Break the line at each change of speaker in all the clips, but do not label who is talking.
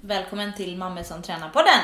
Välkommen till Mamme som tränar-podden!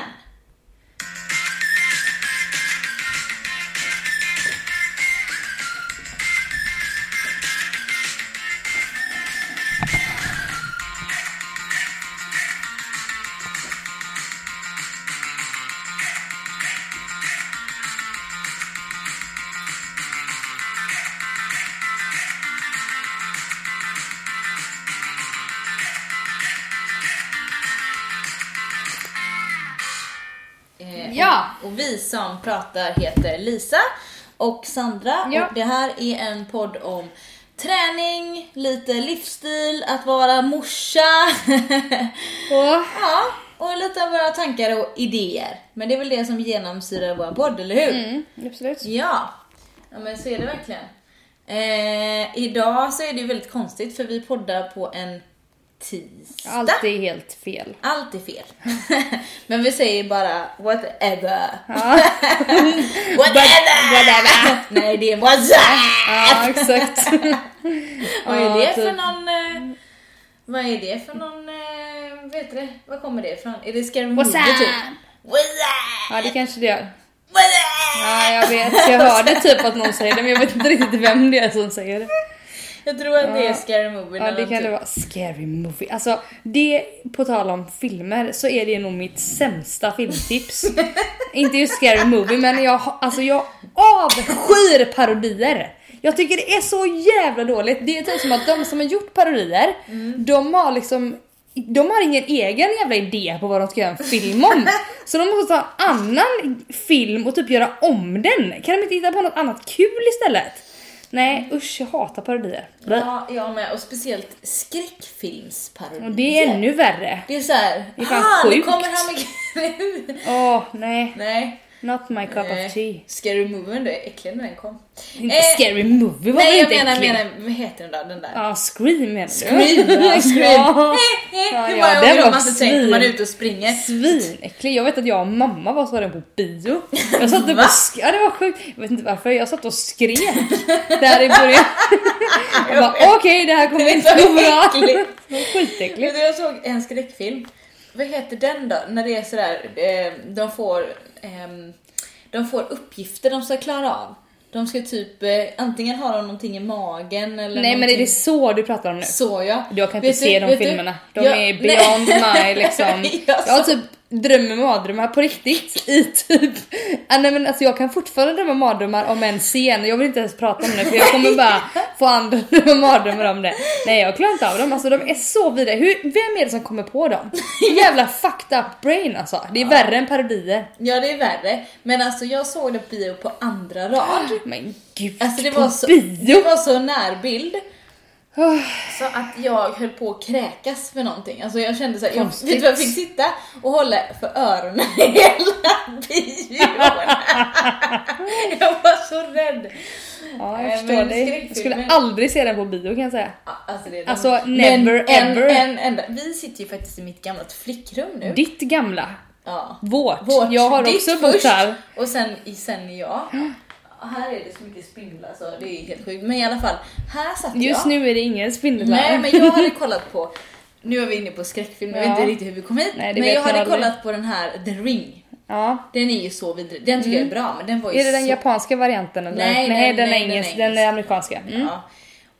Eh,
Ja.
Och, och vi som pratar heter Lisa och Sandra
Ja.
och det här är en podd om träning, lite livsstil, att vara morsa.
Och
ja, och lite av våra tankar och idéer. Men det är väl det som genomsyrar vår podd, eller hur?
mm, absolut.
Ja. ja, men så är det verkligen. Eh, idag så är det ju väldigt konstigt för vi poddar på en tisdag.
Allt är helt fel.
Allt är fel. Men vi säger bara whatever.
Ja,
Whatever! Nej, det är whatsapp!
ja exakt.
Vad är det för
typ.
någon... Eh, vad är det för någon... Eh, vet du det? Vad kommer det ifrån? Är det Scary Movie
Whatsapp!
typ? Whatsapp!
Ja, det kanske det gör.
Whatsapp!
Ja, jag vet. Jag hörde typ att någon säger det, men jag vet inte riktigt vem det är som säger det.
Jag tror att det är
Ja.
Scary Movie.
Ja,
eller
det
något
kan det
typ.
vara. Scary movie. Alltså, det, på tal om filmer, så är det nog mitt sämsta filmtips. Inte just scary movie, men jag, ha- alltså, jag avskyr parodier. Jag tycker det är så jävla dåligt. Det är typ som att de som har gjort parodier,
Mm.
de har liksom de har ingen egen jävla idé på vad de ska göra en film om. Så de måste ta en annan film och typ göra om den. Kan de inte hitta på något annat kul istället? Nej usch, jag hatar parodier.
Ja, jag med. Och speciellt skräckfilmsparodier.
Och det är ännu värre.
Det är såhär,
är fan
ah, nu
sjukt."
kommer han med grejer.
Åh, nej.
Nej.
Not my cup
nej.
of tea.
Eh, Scary Movie var äcklig när den kom.
Inte
Eh,
scary movie var
Nej
väl
jag
inte
menar,
äcklig?
menar, vad heter den då? Den där?
Ja, scream menar du?
Scream! Ja, scream.
ja. Eh, Ja,
Hur
ja,
många
den
gånger har
var
man inte tänkt när man är ute och springer?
Svinäcklig. Jag vet att jag och mamma var så den på bio. Jag satt typ
Va?
och sk- ja, det var sjukt. Jag vet inte varför. Jag satt och skrek där i början. Jag bara okej, det här kommer inte
Det
gå
var
bra.
äckligt.
Det var Skitäckligt.
Vet du, jag såg en skräckfilm. Vad heter den då? När det är sådär, eh, de får, ehm, de får uppgifter de ska klara av. De ska typ, eh, antingen har de någonting i magen eller
Nej, men är
någonting.
det så du pratar om nu?
Så ja.
Jag kan inte
Vet
se
du-
de
vet du-
filmerna. De
Ja,
är
nej.
beyond my liksom.
Jag
Jag har
såg-
typ drömmer mardrömmar på riktigt i typ... Ah, nej, men alltså jag kan fortfarande drömma mardrömmar om en scen. Jag vill inte ens prata om det för jag kommer bara få andra drömma mardrömmar om det. Nej jag klarar inte av dem. Alltså de är så vidare. Hur, vem är det som kommer på dem? Jävla fucked up brain alltså. Det är värre än parodier.
Ja det är värre. Men alltså jag såg det på bio på andra rad.
Men gud,
Alltså det
på
var så,
bio!
det var så närbild.
Ah.
Så att jag höll på att kräkas för någonting. Alltså jag kände såhär, jag, vet
Konstigt.
du vad jag fick sitta och hålla för öronen hela bion. jag var så rädd.
Ja,
Nej,
jag förstår
men
dig. Jag
skräckfilmer-
skulle aldrig se den på bio kan jag säga.
Ja, Alltså, det är
Alltså,
Men
never
en,
ever.
En, enda. Vi sitter ju faktiskt i mitt gamla flickrum nu.
Ditt gamla
Ja.
Vårt.
Vårt.
Jag har
Ditt
också bott
först,
här.
Och sen, i- sen jag. Här är det så mycket spindlar så det är helt sjukt. Men i alla fall, här satt jag.
Just nu är det ingen spindelväv.
Nej men jag hade kollat på, nu är vi inne på skräckfilm, jag vet
Ja.
inte riktigt hur vi kom hit.
Nej, det
men
vet
jag
jag
hade
aldrig.
kollat på den här The Ring.
Ja.
Den är ju så vidrig, den tycker jag är bra men den var ju
Mm. Är det den
så...
japanska varianten eller?
Nej, nej,
den,
nej,
är
den är
engelsk, den
engelsk. Alltså,
är amerikanska. Mm.
Ja.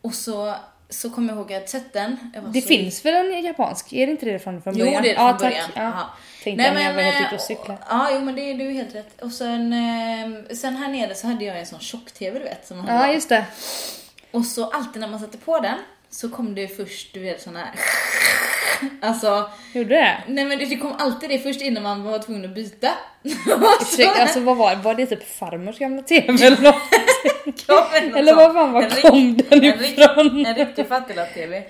Och så, så kommer jag ihåg att jag hade sett den. Jag var
Det
så...
finns väl en japansk? Är det inte det från, från
Jo det
början?
är det
ja,
från början.
Tack. Ja.
Jaha.
Tänkte om jag var
eh,
helt ute och cykla.
Ja jo men det är du är helt rätt. Och sen, ehm, sen här nere så hade jag en sån tjock-tv du vet. Som man
Ja,
hade.
just det.
Och så alltid när man satte på den så kom det ju först du vet sån här. Alltså
Gjorde det?
Nej men det det kom alltid det först innan man var tvungen att byta.
Ursäkta, alltså vad var det? Var det typ farmors gamla TV eller något?
Eh, Ja, men något
Eller vad fan,
sånt.
var
En rikt-
kom den
en rikt-
ifrån?
En riktig fattiglapp-tv.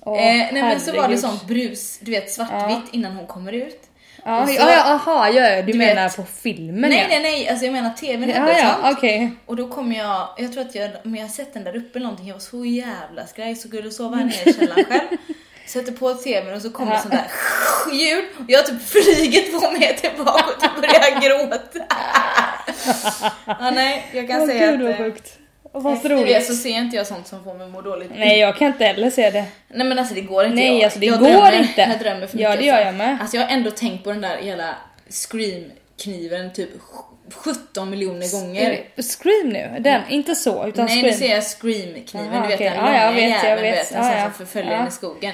Åh,
eh, nej men så var det
herregud.
sånt brus, du vet svartvitt innan hon kommer ut.
Ja,
Och så-
ja, ja, aha, ja, ja, du,
Du
menar
vet-
på filmen
nej
ja.
nej nej, alltså jag menar tvn hade
Ja,
sånt.
ja, okej.
Och då kom jag, jag tror att jag, om jag har sett den där uppe eller någonting, jag var så jävla skraj så kunde jag sova här nere i källaren själv. Sätter på tvn och så kommer
Ja.
sånt där ljud och jag typ flyger två meter bakåt och börjar gråta. ja, nej, jag kan
Åh,
säga
gud
att...
vad
eh,
sjukt. Och vad så
Efter det
roligt.
så ser inte jag sånt som får mig att må dåligt.
Nej jag kan inte heller se det.
Nej men alltså det går inte.
Nej,
jag,
alltså, det
jag
går
drömmer,
inte.
Jag drömmer för
Ja,
mycket.
det gör
alltså.
jag med.
Alltså jag har ändå tänkt på den där hela Scream-kniven typ 17 miljoner gånger.
Scream nu, den, inte så utan
Nej nu
scream.
ser jag Scream-kniven,
Aha,
du vet
okej.
den
Ja, jag vet, jag
jäveln,
vet.
vet,
Ja,
som
ja.
sen förföljer
Ja.
henne i skogen.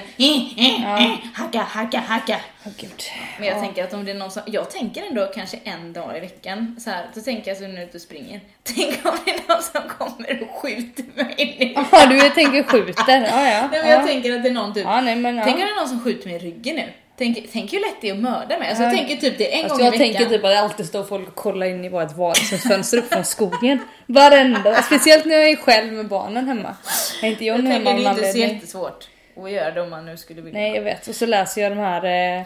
Hacka, hacka, hacka.
Åh, gud.
Men jag tänker att om det är någon som, jag tänker ändå kanske en dag i veckan så här, då tänker jag så nu ute och springer. Tänk om det är någon som kommer och skjuter mig nu.
Ja, du tänker skjuter. Ja,
Nej,
ja.
men jag
ja.
tänker att det är någon typ,
ja, nej, men, ja.
tänk om det är någon som skjuter mig i ryggen nu. Tänk, tänk hur lätt det är att mörda mig. Alltså jag
Ja.
tänker typ det en
Alltså,
gång i
jag
veckan.
tänker typ att det alltid står folk och kollar in i vårt vardagsrumsfönster upp från skogen. Varenda, speciellt när jag är själv med barnen hemma. Är inte
jag
John hemma
tänker
av
det är
någon
inte så
anledning?
jättesvårt att göra det om man nu skulle vilja.
Nej jag vet, och så läser jag de här eh,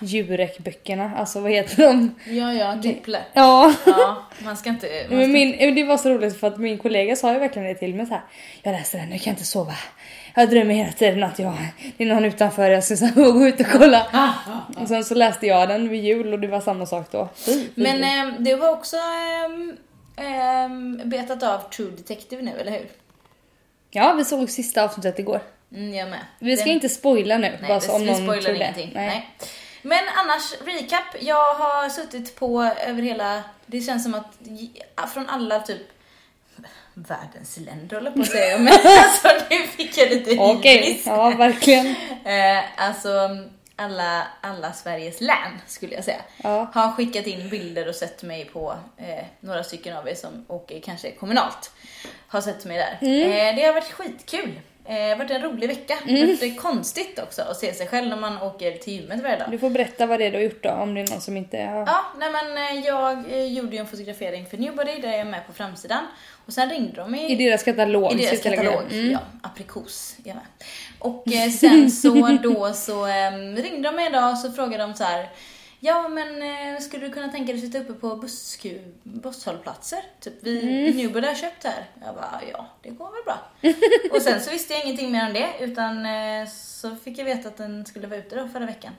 Jurek-böckerna, alltså vad heter de?
Ja, ja, Dipple.
Ja.
Ja, man ska inte... Man
Men
ska...
min, det var så roligt för att min kollega sa ju verkligen det till mig så här. Jag läser den, jag kan inte sova. Jag drömmer hela tiden att jag, det är någon utanför, jag ska så här gå ut och kolla.
Ah,
Och sen så läste jag den vid jul och det var samma sak då.
Men eh, du har också ehm, ehm, betat av True Detective nu, eller hur?
Ja, vi såg sista avsnittet igår.
Mm, jag med.
Vi ska
Den-
inte spoila nu.
Nej,
bara
det-
så om
vi
någon
spoilar
tror det.
ingenting. Nej. Men annars, recap. Jag har suttit på över hela... Det känns som att j- från alla typ världens länder håller jag på att säga. Men alltså nu fick jag lite
Okej,
hybris.
ja verkligen.
Eh, alltså alla, alla Sveriges län skulle jag säga.
Ja.
Har skickat in bilder och sett mig på eh, några stycken av er som åker kanske kommunalt. Har sett mig där. Eh, det har varit skitkul. Eh, det har varit en rolig vecka. Det har varit konstigt också att se sig själv när man åker till gymmet varje dag.
Du får berätta vad det är du har gjort då, om det är någon som inte har...
Ja, nej men eh, jag eh, gjorde ju en fotografering för Newbody där jag är med på framsidan. Och sen ringde de
I deras katalog.
i deras
så tillägger
katalog,
jag. Mm.
ja. Aprikos, jag med. Och eh, sen så då så ehm, ringde de mig idag och så frågade de så här. Ja men eh, skulle du kunna tänka dig att sitta uppe på bussku, busshållplatser? Typ vi mm. Newbody har köpt här. Jag bara ja, det går väl bra. och sen så visste jag ingenting mer om det utan eh, så fick jag veta att den skulle vara ute då förra veckan.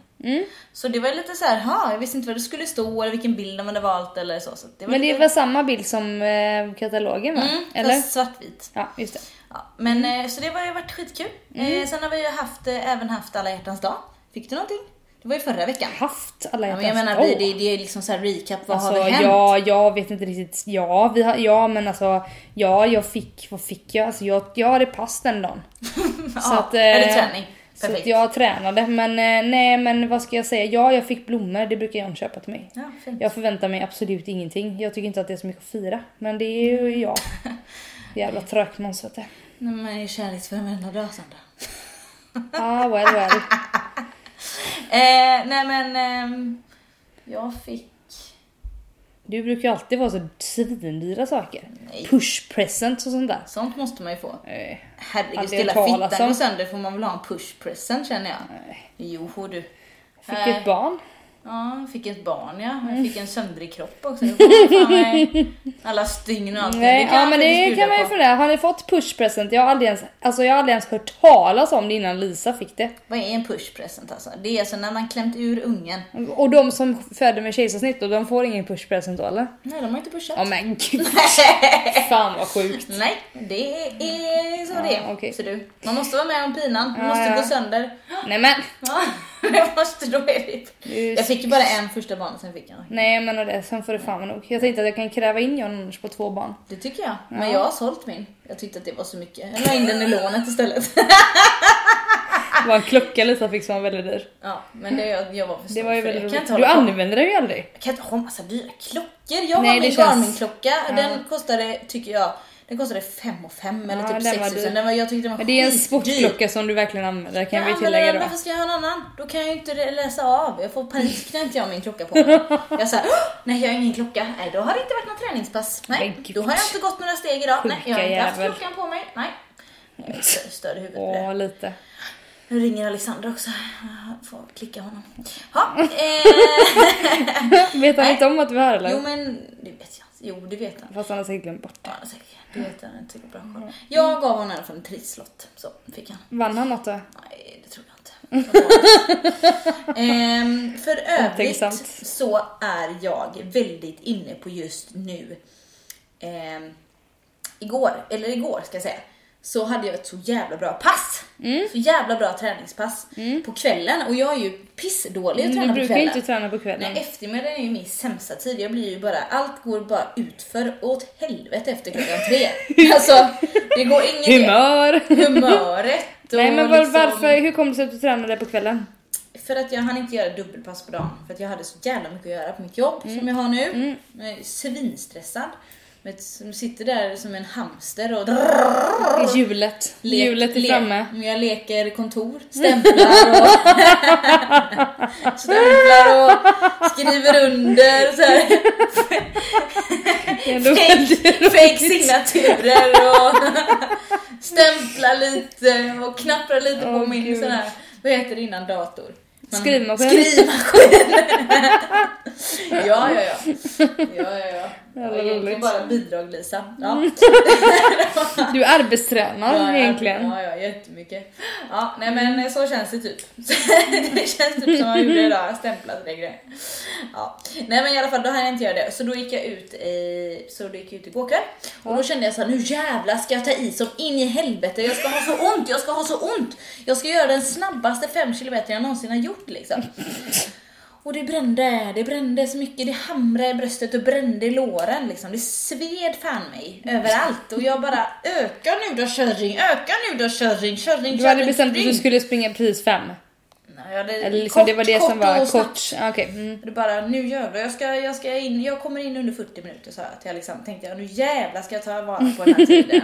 Så det var lite så här, ha, jag visste inte vad det skulle stå eller vilken bild de hade valt eller så. så det var
Men det
lite-
var samma bild som eh, katalogen va?
mm,
Eller?
Fast svartvit.
Ja, just det.
Ja, men eh, så det har ju varit skitkul.
Mm.
Eh, sen har vi ju haft, eh, även haft alla hjärtans dag. Fick du någonting? Det var ju förra veckan.
Haft alla
Ja,
hjärtans
men jag menar,
dag.
vi, det, det är liksom så här recap, vad
Alltså,
har vi hänt?
ja, jag vet inte riktigt. Ja, vi har, ja men alltså. Ja, jag fick, vad fick jag? Alltså, jag, jag hade pass den dagen.
ja,
så att, eh,
eller träning.
Så
Perfekt.
att jag tränade. Men eh, nej, men vad ska jag säga? Ja, jag fick blommor. Det brukar John köpa till mig.
Ja, fint.
Jag förväntar mig absolut ingenting. Jag tycker inte att det är så mycket att fira. Men det är ju jag. Jävla trökmåns vet du.
När man är kärleksfull varenda dag Sandra.
Ah, well, well.
Eh, nej men, ehm, jag fick...
Du brukar ju alltid vara så svindyra saker.
Nej.
Push presents och sånt där.
Sånt måste man ju få.
Eh,
Herregud,
Aldrig
hela
hört talas
fittan
om.
går sönder får man väl ha en push present känner jag. Joho du.
Fick
Nej.
ett barn.
Ja, jag fick ett barn ja.
Mm.
Jag fick en söndrig kropp också. Det får fan mig- Alla stygn och allting.
Nej,
kan
ja
jag
men
faktiskt
det
bjuda
kan man ju
på.
fundera. Har ni fått push present? Jag har aldrig ens, alltså jag har aldrig ens hört talas om det innan Lisa fick det.
Vad är en pushpresent alltså? Det är alltså när man klämt ur ungen.
Och de som föder med kejsarsnitt då, de får ingen push present då eller?
Nej, de har inte pushat.
Ja men gud. Fan vad sjukt.
Nej, det är så det är.
okej.
Så du, man måste vara med om pinan, man
Ja,
måste
ja.
gå sönder.
Nej men.
Ja, det måste då är det.
Du-
Jag fick ju bara en första barn, sen fick jag en.
Nej jag menar det, sen får det fan vara nog. Jag tänkte att jag kan kräva in John Anders på två barn.
Det tycker jag. Men jag har sålt min. Jag tyckte att det var så mycket. Jag la in den i lånet istället. Ah.
Det var en klocka Lisa fick som var väldigt dyr.
Ja, men det, jag, jag var för
Det
snål
var ju
för
väldigt
Jag kan
roligt.
inte hålla
Du
på.
använder den ju aldrig.
Jag kan inte ha en massa dyra klockor. Jag
Nej,
har
det
min
känns-
Garmin-klocka. Den kostade, tycker jag, den kostade 5 och 5 eller
Ja,
typ
den var
6 000.
dyr.
Den var, jag tyckte den var
Men det är en
skitdyr.
sportklocka som du verkligen använder kan
jag
vi
använder
tillägga
den,
då.
varför ska jag ha en annan? Då kan jag ju inte re- läsa av. Jag får panik när inte jag har min klocka på mig. Jag säger nej jag har ingen klocka. Nej, då har det inte varit något träningspass. Nej,
Men gud.
då har jag inte gått några steg idag. Nej, jag har
Sjuka
inte haft
jävel.
klockan på mig. Nej. Jag är stö- Större huvud på det.
Ja lite.
Nu ringer Alexander också. Jag får klicka honom. Ha, eh,
Vet han inte om att vi är här eller?
jo men, det vet jag. Jo, det vet han.
Fast han har säkert glömt bort.
Ja, säkert. Det vet jag inte. Bra. koll. Jag gav honom i alla fall en trisslott. Så fick han.
Vann han något då?
Nej, det tror jag inte. Jag gav honom. Ehm, för
Otänksamt.
övrigt så är jag väldigt inne på just nu ehm, igår, eller igår ska jag säga, så hade jag ett så jävla bra pass.
Mm.
Så jävla bra träningspass på kvällen och jag är ju pissdålig att träna på
Mm, Du brukar ju
kvällen.
inte träna på kvällen.
Nej, eftermiddagen är ju min sämsta tid. Jag blir ju bara, allt går bara utför och åt helvete efter klockan tre. Alltså, det går inget
Humör!
Humöret och
Nej men var,
liksom-
varför, hur kom det sig att du tränade på kvällen?
För att jag hann inte göra dubbelpass på dagen. För att jag hade så jävla mycket att göra på mitt jobb
Mm.
som jag har nu. Jag är svinstressad. Men ett- som sitter där som en hamster och
Det är Hjulet.
le-
Hjulet är
le-
framme.
Men Jag leker kontor, stämplar och stämplar och skriver under och så här.
Det är ändå väldigt
fake,
roligt.
fake signaturer och stämplar lite och knappar lite på
Åh,
min
gud.
sån här, vad heter det innan dator? Man-
Skrivmaskin.
Skrivmaskin! ja, ja, ja. ja, ja, ja.
Jävla
Det är egentligen
roligt.
bara bidrag Lisa. Ja.
Du är arbetstränar
Ja, ja,
egentligen.
Ja, ja, jättemycket. Ja, nej men så känns det typ. det känns typ som jag gjorde idag, stämplat det grejer. Ja. Nej men i alla fall, då hann jag inte göra det. Så då gick jag ut i, så då gick jag ut igår kväll. Och då kände jag så här, nu jävlar ska jag ta i som in i helvete. Jag ska ha så ont, jag ska ha så ont. Jag ska göra den snabbaste 5 km jag någonsin har gjort liksom. Och det brände, det brände så mycket, det hamrade i bröstet och brände i låren liksom. Det sved fan mig överallt och jag bara öka nu då kärring, öka nu då kärring, kärring,
Du hade
kärring,
bestämt att
spring."
du skulle springa precis fem.
Nej, jag hade
Eller liksom det var det som var
och snabbt.
kort. Okej. Mm.
Det bara, nu jävlar, jag ska, jag ska in, jag kommer in under 40 minuter sa jag till Alexander. Tänkte jag, nu jävlar ska jag ta vara på den här tiden.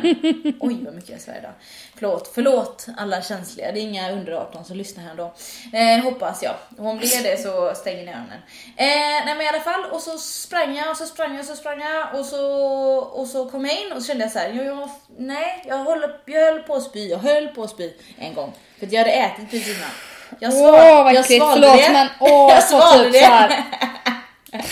Oj vad mycket jag svär idag. Förlåt, förlåt alla känsliga, det är inga under 18 som lyssnar här ändå. Eh, hoppas jag. Och om det är det så stänger ni öronen. Eh, nej men i alla fall, och så sprang jag och så sprang jag och så sprang jag och så, och så kom jag in och så kände jag så här, jag, jag, nej jag, håller, jag höll på att spy, jag höll på att spy en gång. För att jag hade ätit precis innan. Jag
Åh
sval- jag
vad äckligt,
svalde
förlåt
det.
men åh
Jag
jag sa
svalde
typ
det.
såhär.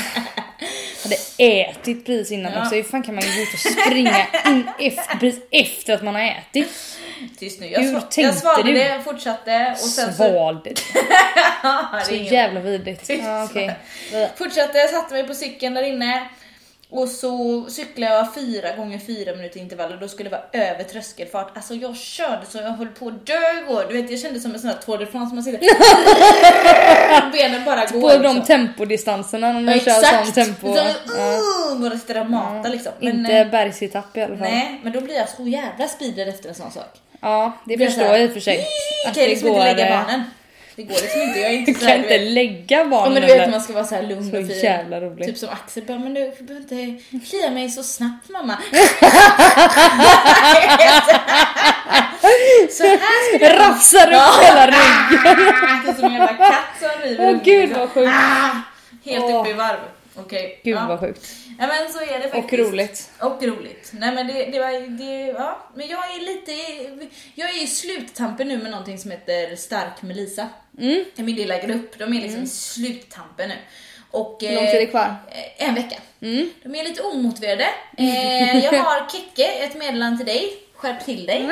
Hade ätit precis innan
Ja.
också, hur fan kan man gå ut och springa in efter, precis efter att man har ätit?
Tyst nu. Jag,
Hur
sva- jag
tänkte
svalde
du?
det, fortsatte och sen så...
Svalde
Ja, det
Så
är ingen-
jävla vidrigt. Ja, okej.
Fortsatte, jag satte mig på cykeln där inne och så cyklade jag fyra gånger fyra minuter intervaller då skulle det vara över tröskelfart. Alltså jag körde så jag höll på att dö igår. Du vet jag kände som en sån här Tour de France man sitter... Benen bara går.
På de
liksom.
tempodistanserna när man
Ja,
kör sån tempo.
Så,
Ja.
uh, går det Stramata liksom. Men,
Inte
eh,
bergsetapp i alla fall.
nej, men då blir jag så jävla speedad efter en sån sak.
Ja, det
blir
förstår
så här,
jag i och för sig.
Okej, liksom inte lägga barnen. Det går liksom inte, jag är inte
eh,
så
Du
här,
kan
du
inte
vet.
lägga
Ja
barnen
men du vet
där.
man ska vara så här lugn
Så
och fin.
jävla roligt.
Typ som Axel bara, men du du behöver inte klia mig så snabbt mamma. så här ska du...
Rafsar upp hela ryggen.
Det är som en jävla katt som river
Åh
upp
gud
liksom.
vad sjukt.
Ah, Helt
Åh.
uppe i varv. Okej.
Gud
ja.
vad sjukt.
ja men så är det faktiskt.
Och roligt.
Och roligt. Nej men det, det var det, ja. Men jag är lite, jag är i sluttampen nu med någonting som heter Stark med Lisa.
Mm.
I min lilla grupp, de är liksom i sluttampen nu. Och,
Hur lång tid är det kvar?
eh, En vecka.
Mm.
De är lite omotiverade. Eh, jag har Keke, ett meddelande till dig. Skärp till dig.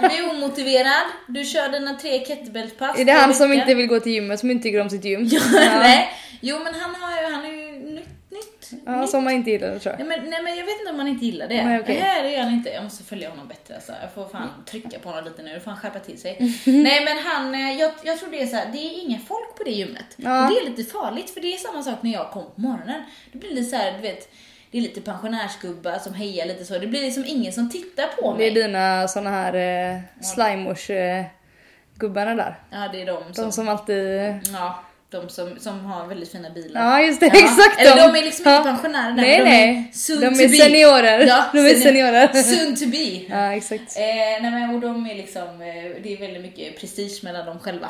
Du är omotiverad. Du kör dina tre kettlebellspass.
Är det
per
han som
vecka.
inte vill gå till gymmet som inte tycker om sitt gym?
Nej. Jo men han, har, ju- han är ju nytt, nytt.
Ja, som man inte gillar tror jag.
Nej men, nej men jag vet inte om han inte gillar det.
Nej, okej. Mm.
Nej det gör han inte. Jag måste följa honom bättre alltså. Jag får fan trycka på honom lite nu. Då får han skärpa till sig. nej men han, eh, jag, jag tror det är så här, det är inga folk på det gymmet.
Ja.
Och det är lite farligt för det är samma sak när jag kom på morgonen. Det blir lite så här, du vet, det är lite pensionärsgubbar som hejar lite så. Det blir liksom ingen som tittar på
Det är
mig.
dina såna här eh, slimeårs eh, gubbarna där.
Ja det är de som,
De som alltid...
ja, de som, som har väldigt fina bilar.
Ja just det,
Ja,
exakt
Eller de
dem.
är liksom inte
Ja.
pensionärer där,
Nej
de är
nej,
soon
de
to
är
be.
seniorer.
Ja,
de är
seni-
seniorer.
Soon to be.
Ja exakt.
Eh, nej men, och de är liksom, eh, det är väldigt mycket prestige mellan dem själva.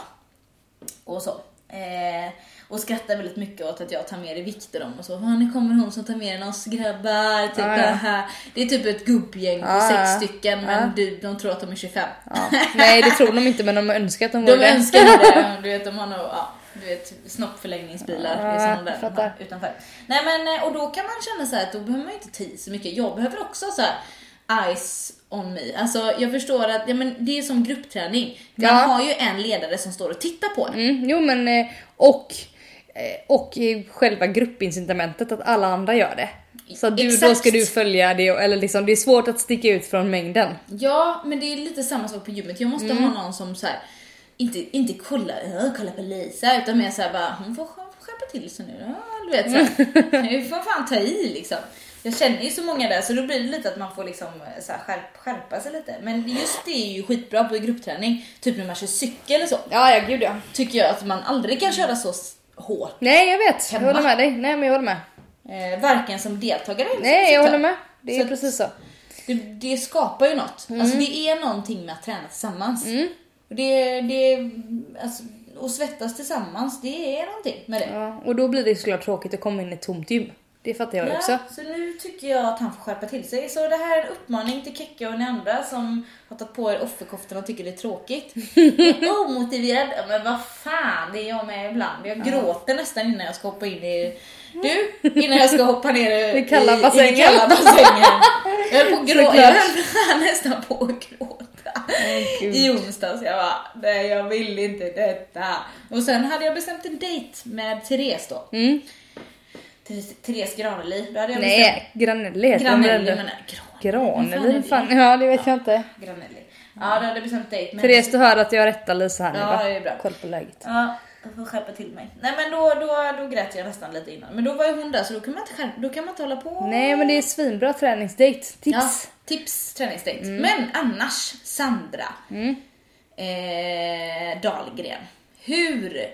Och så. Eh, och skrattar väldigt mycket åt att jag tar med i vikt i dem och så. "Ah, Nu kommer hon som tar med den oss grabbar. Typ,
Ah, Ja, ja.
haha. Det är typ ett gubbgäng på
Ja, ja. Ah.
sex stycken men
Ja.
du, de tror att de är 25.
Ja. Nej det tror de inte men de önskar att de
De
vore det.
önskar nog det. Du vet, de har nog, ja, du vet snoppförlängningsbilar. det är
Ja,
sådana där de
fattar.
har utanför. Nej men, eh, och då kan man känna så här att då behöver man ju inte ta i så mycket. Jag behöver också så här eyes on me. Alltså jag förstår att ja, men det är som gruppträning. Man
Ja.
har ju en ledare som står och tittar på en.
Mm, jo men eh, och eh, och i själva gruppincitamentet att alla andra gör det. Så att du, då
Exakt.
ska du följa det, eller liksom, det är svårt att sticka ut från mängden.
Ja, men det är lite samma sak på gymmet. Jag måste
Mm.
ha någon som så här, inte, inte kolla, "Åh, kolla på Lisa, utan mer såhär bara, hon får skär- skärpa till sig nu. Ja, du vet
Mm.
såhär, nu får fan ta i liksom. Jag känner ju så många där så då blir det lite att man får liksom så här, skärp, skärpa sig lite. Men just det är ju skitbra på gruppträning, typ när man kör cykel eller så.
Ja, ja gud ja.
Tycker jag att man aldrig kan köra så s- hårt.
Nej jag vet,
Hemma.
jag håller med dig. Nej men jag håller med.
Eh, varken som deltagare eller som
Nej jag
instruktör.
håller med. Det är
Så-
precis så.
Det, det skapar ju något. Alltså det är någonting med att träna tillsammans. Och Det, det, alltså, och svettas tillsammans, det är någonting med det.
Ja, och då blir det såklart tråkigt att komma in i ett tomt gym. Det fattar jag också.
Ja, så nu tycker jag att han får skärpa till sig. Så det här är en uppmaning till Kekka och ni andra som har tagit på er offerkoftan och tycker det är tråkigt. Omotiverad, Ja, men vad fan, det är jag med ibland. Jag gråter nästan innan jag ska hoppa in i... Du, innan jag ska hoppa ner i,
I kalla
i- I,
bassängen.
den kalla bassängen. Jag höll på att grå-
Såklart.
jag höll nästan på att gråta.
gud.
I onsdags, jag bara, nej jag vill inte detta. Och sen hade jag bestämt en dejt med Therese då.
Mm.
Therese, Therese Graneli. Då hade jag bestämt
Nej, Granelli heter den väl
Granelli
ändå?
menar jag.
Granelli? Fan, ja det vet jag inte.
Granelli. Ja, då hade jag bestämt dejt med
Therese, du hör att jag rättar Lisa här nu
Ja,
va?
det är bra.
Koll på läget.
Ja, jag får skärpa till mig. Nej men då, då, då grät jag nästan lite innan. Men då var ju hon där så då kan man inte, skärpa, då kan man inte hålla på.
Nej men det är svinbra träningsdate. Tips! Mm.
Ja, tips träningsdejt. Men annars, Sandra eh, Dahlgren. Hur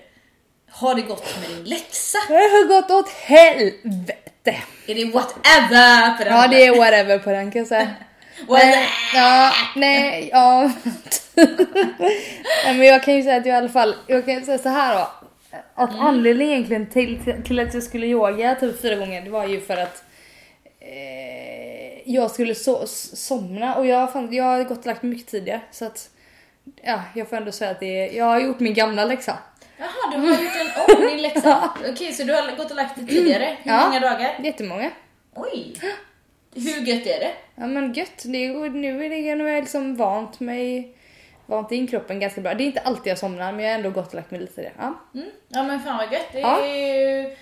har det gått med din läxa?
Det har gått åt helvete!
Är det whatever för
Ja det är whatever på den kan jag säga.
Whatever.
Nej, ja, nej, ja. nej men jag kan ju säga att jag i alla fall, jag kan ju säga så här då. Att anledningen egentligen till, till, till att jag skulle yoga typ fyra gånger, det var ju för att eh, jag skulle so- s- somna och jag, fan, jag har gått och lagt mig mycket tidigare så att ja, jag får ändå säga att det är, jag har gjort min gamla läxa.
Jaha, du har gjort en om din läxa. Okej, så du har gått och lagt det tidigare. Hur
Ja.
många dagar?
Jättemånga.
Oj! Hur gött är det?
Ja men gött, det är, nu är det, nu har jag liksom vant mig, vant in kroppen ganska bra. Det är inte alltid jag somnar men jag har ändå gått och lagt mig lite i det. Ja.
Mm. Ja men fan vad gött. Det är
Ja.
ju...